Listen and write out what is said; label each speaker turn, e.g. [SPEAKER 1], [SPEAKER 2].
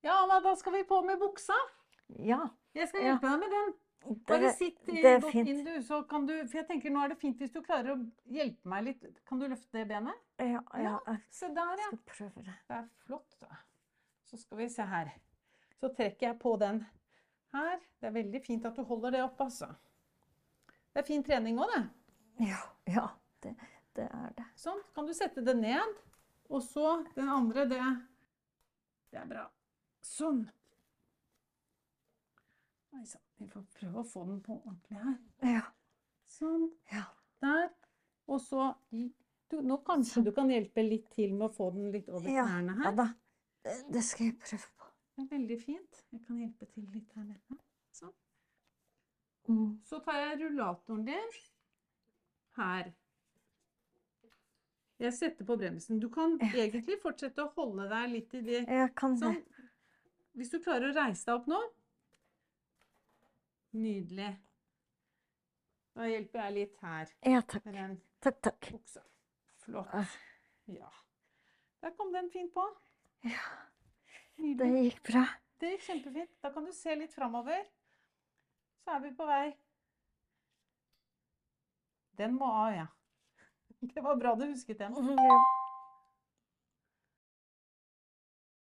[SPEAKER 1] Ja, Anna, da skal vi på med buksa.
[SPEAKER 2] Ja,
[SPEAKER 1] Jeg skal
[SPEAKER 2] Ja.
[SPEAKER 1] hjelpe deg med den. Bare
[SPEAKER 2] det,
[SPEAKER 1] sitt i
[SPEAKER 2] det er
[SPEAKER 1] godt
[SPEAKER 2] fint.
[SPEAKER 1] inn, du, så kan du For jeg tenker nå er det fint hvis du klarer å hjelpe meg litt. Kan du løfte det benet?
[SPEAKER 2] ja, ja,
[SPEAKER 1] Ja.
[SPEAKER 2] jeg
[SPEAKER 1] Se der, ja.
[SPEAKER 2] skal prøve det.
[SPEAKER 1] Det er flott. da. Så skal vi se her. Så trekker jeg på den her. Det er veldig fint at du holder det oppe, altså. Det er fin trening òg, det.
[SPEAKER 2] Ja, ja det, det er det.
[SPEAKER 1] Sånn. Kan du sette det ned. Og så den andre, det Det er bra. Sånn. Oi sann. Vi får prøve å få den på ordentlig her.
[SPEAKER 2] Ja,
[SPEAKER 1] Sånn.
[SPEAKER 2] ja.
[SPEAKER 1] Der. Og så i- du, Nå kanskje du kan hjelpe litt til med å få den litt over
[SPEAKER 2] Sånn. Ja,
[SPEAKER 1] knærne
[SPEAKER 2] ja
[SPEAKER 1] her.
[SPEAKER 2] da. Det, det skal jeg prøve på.
[SPEAKER 1] Det er veldig fint. Jeg kan hjelpe til litt her nede. Sånn.
[SPEAKER 2] Mm.
[SPEAKER 1] Så tar jeg rullatoren din her. Jeg setter på bremsen. Du kan
[SPEAKER 2] Ja.
[SPEAKER 1] egentlig fortsette å holde deg litt i det
[SPEAKER 2] Jeg kan det.
[SPEAKER 1] Sånn. Hvis du klarer å reise deg opp nå. Nydelig. Da hjelper jeg litt her
[SPEAKER 2] Ja, takk.
[SPEAKER 1] med den
[SPEAKER 2] Takk, takk.
[SPEAKER 1] buksa. Flott.
[SPEAKER 2] Ah.
[SPEAKER 1] Ja. Der kom den fint på.
[SPEAKER 2] Ja, det
[SPEAKER 1] Nydelig.
[SPEAKER 2] gikk bra.
[SPEAKER 1] Det gikk kjempefint. Da kan du se litt framover. Så er vi på vei. Den må av, ja. Det var bra du husket den.
[SPEAKER 2] Mm, Ja.